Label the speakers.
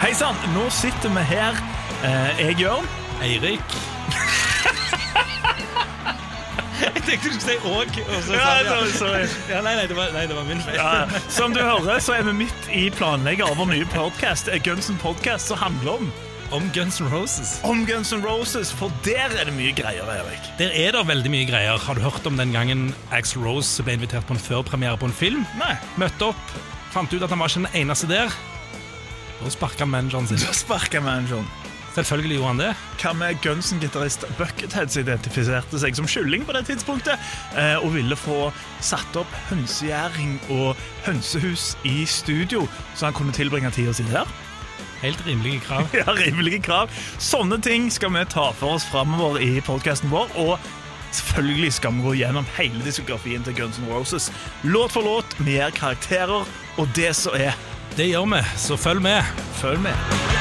Speaker 1: Hei sann, nå sitter vi her. Eh, Jeg, Jørn.
Speaker 2: Eirik. jeg tenkte du skulle si Åg. og så
Speaker 1: Ja,
Speaker 2: sa du
Speaker 1: sorry, sorry.
Speaker 2: Ja, nei, nei, det var, nei, det var min feil.
Speaker 1: Ja, Som du hører, så er vi midt i planlegger av vår nye podkast, Gunsen Podcast, som handler om
Speaker 2: Om Guns N' Roses.
Speaker 1: Om Guns N' Roses, for der er det mye greier, Erik.
Speaker 2: Der er det veldig mye greier. Har du hørt om den gangen Axl Rose ble invitert på en førpremiere på en film?
Speaker 1: Nei.
Speaker 2: Møtte opp, fant ut at han var ikke den eneste der. Da sparka han manageren sin.
Speaker 1: Da sparker manageren.
Speaker 2: Selvfølgelig gjorde han det.
Speaker 1: Hva med Gunsen-gitarist Buckethead som identifiserte seg som kylling på det tidspunktet, eh, og ville få satt opp hønsegjæring og hønsehus i studio, så han kunne tilbringe tida si der?
Speaker 2: Helt rimelige krav.
Speaker 1: Ja, rimelige krav. Sånne ting skal vi ta for oss framover i podkasten vår. Og selvfølgelig skal vi gå gjennom hele diskografien til Guns N' Roses. Låt for låt, vi gir karakterer, og det som er.
Speaker 2: Det gjør vi, så følg med.
Speaker 1: Følg med.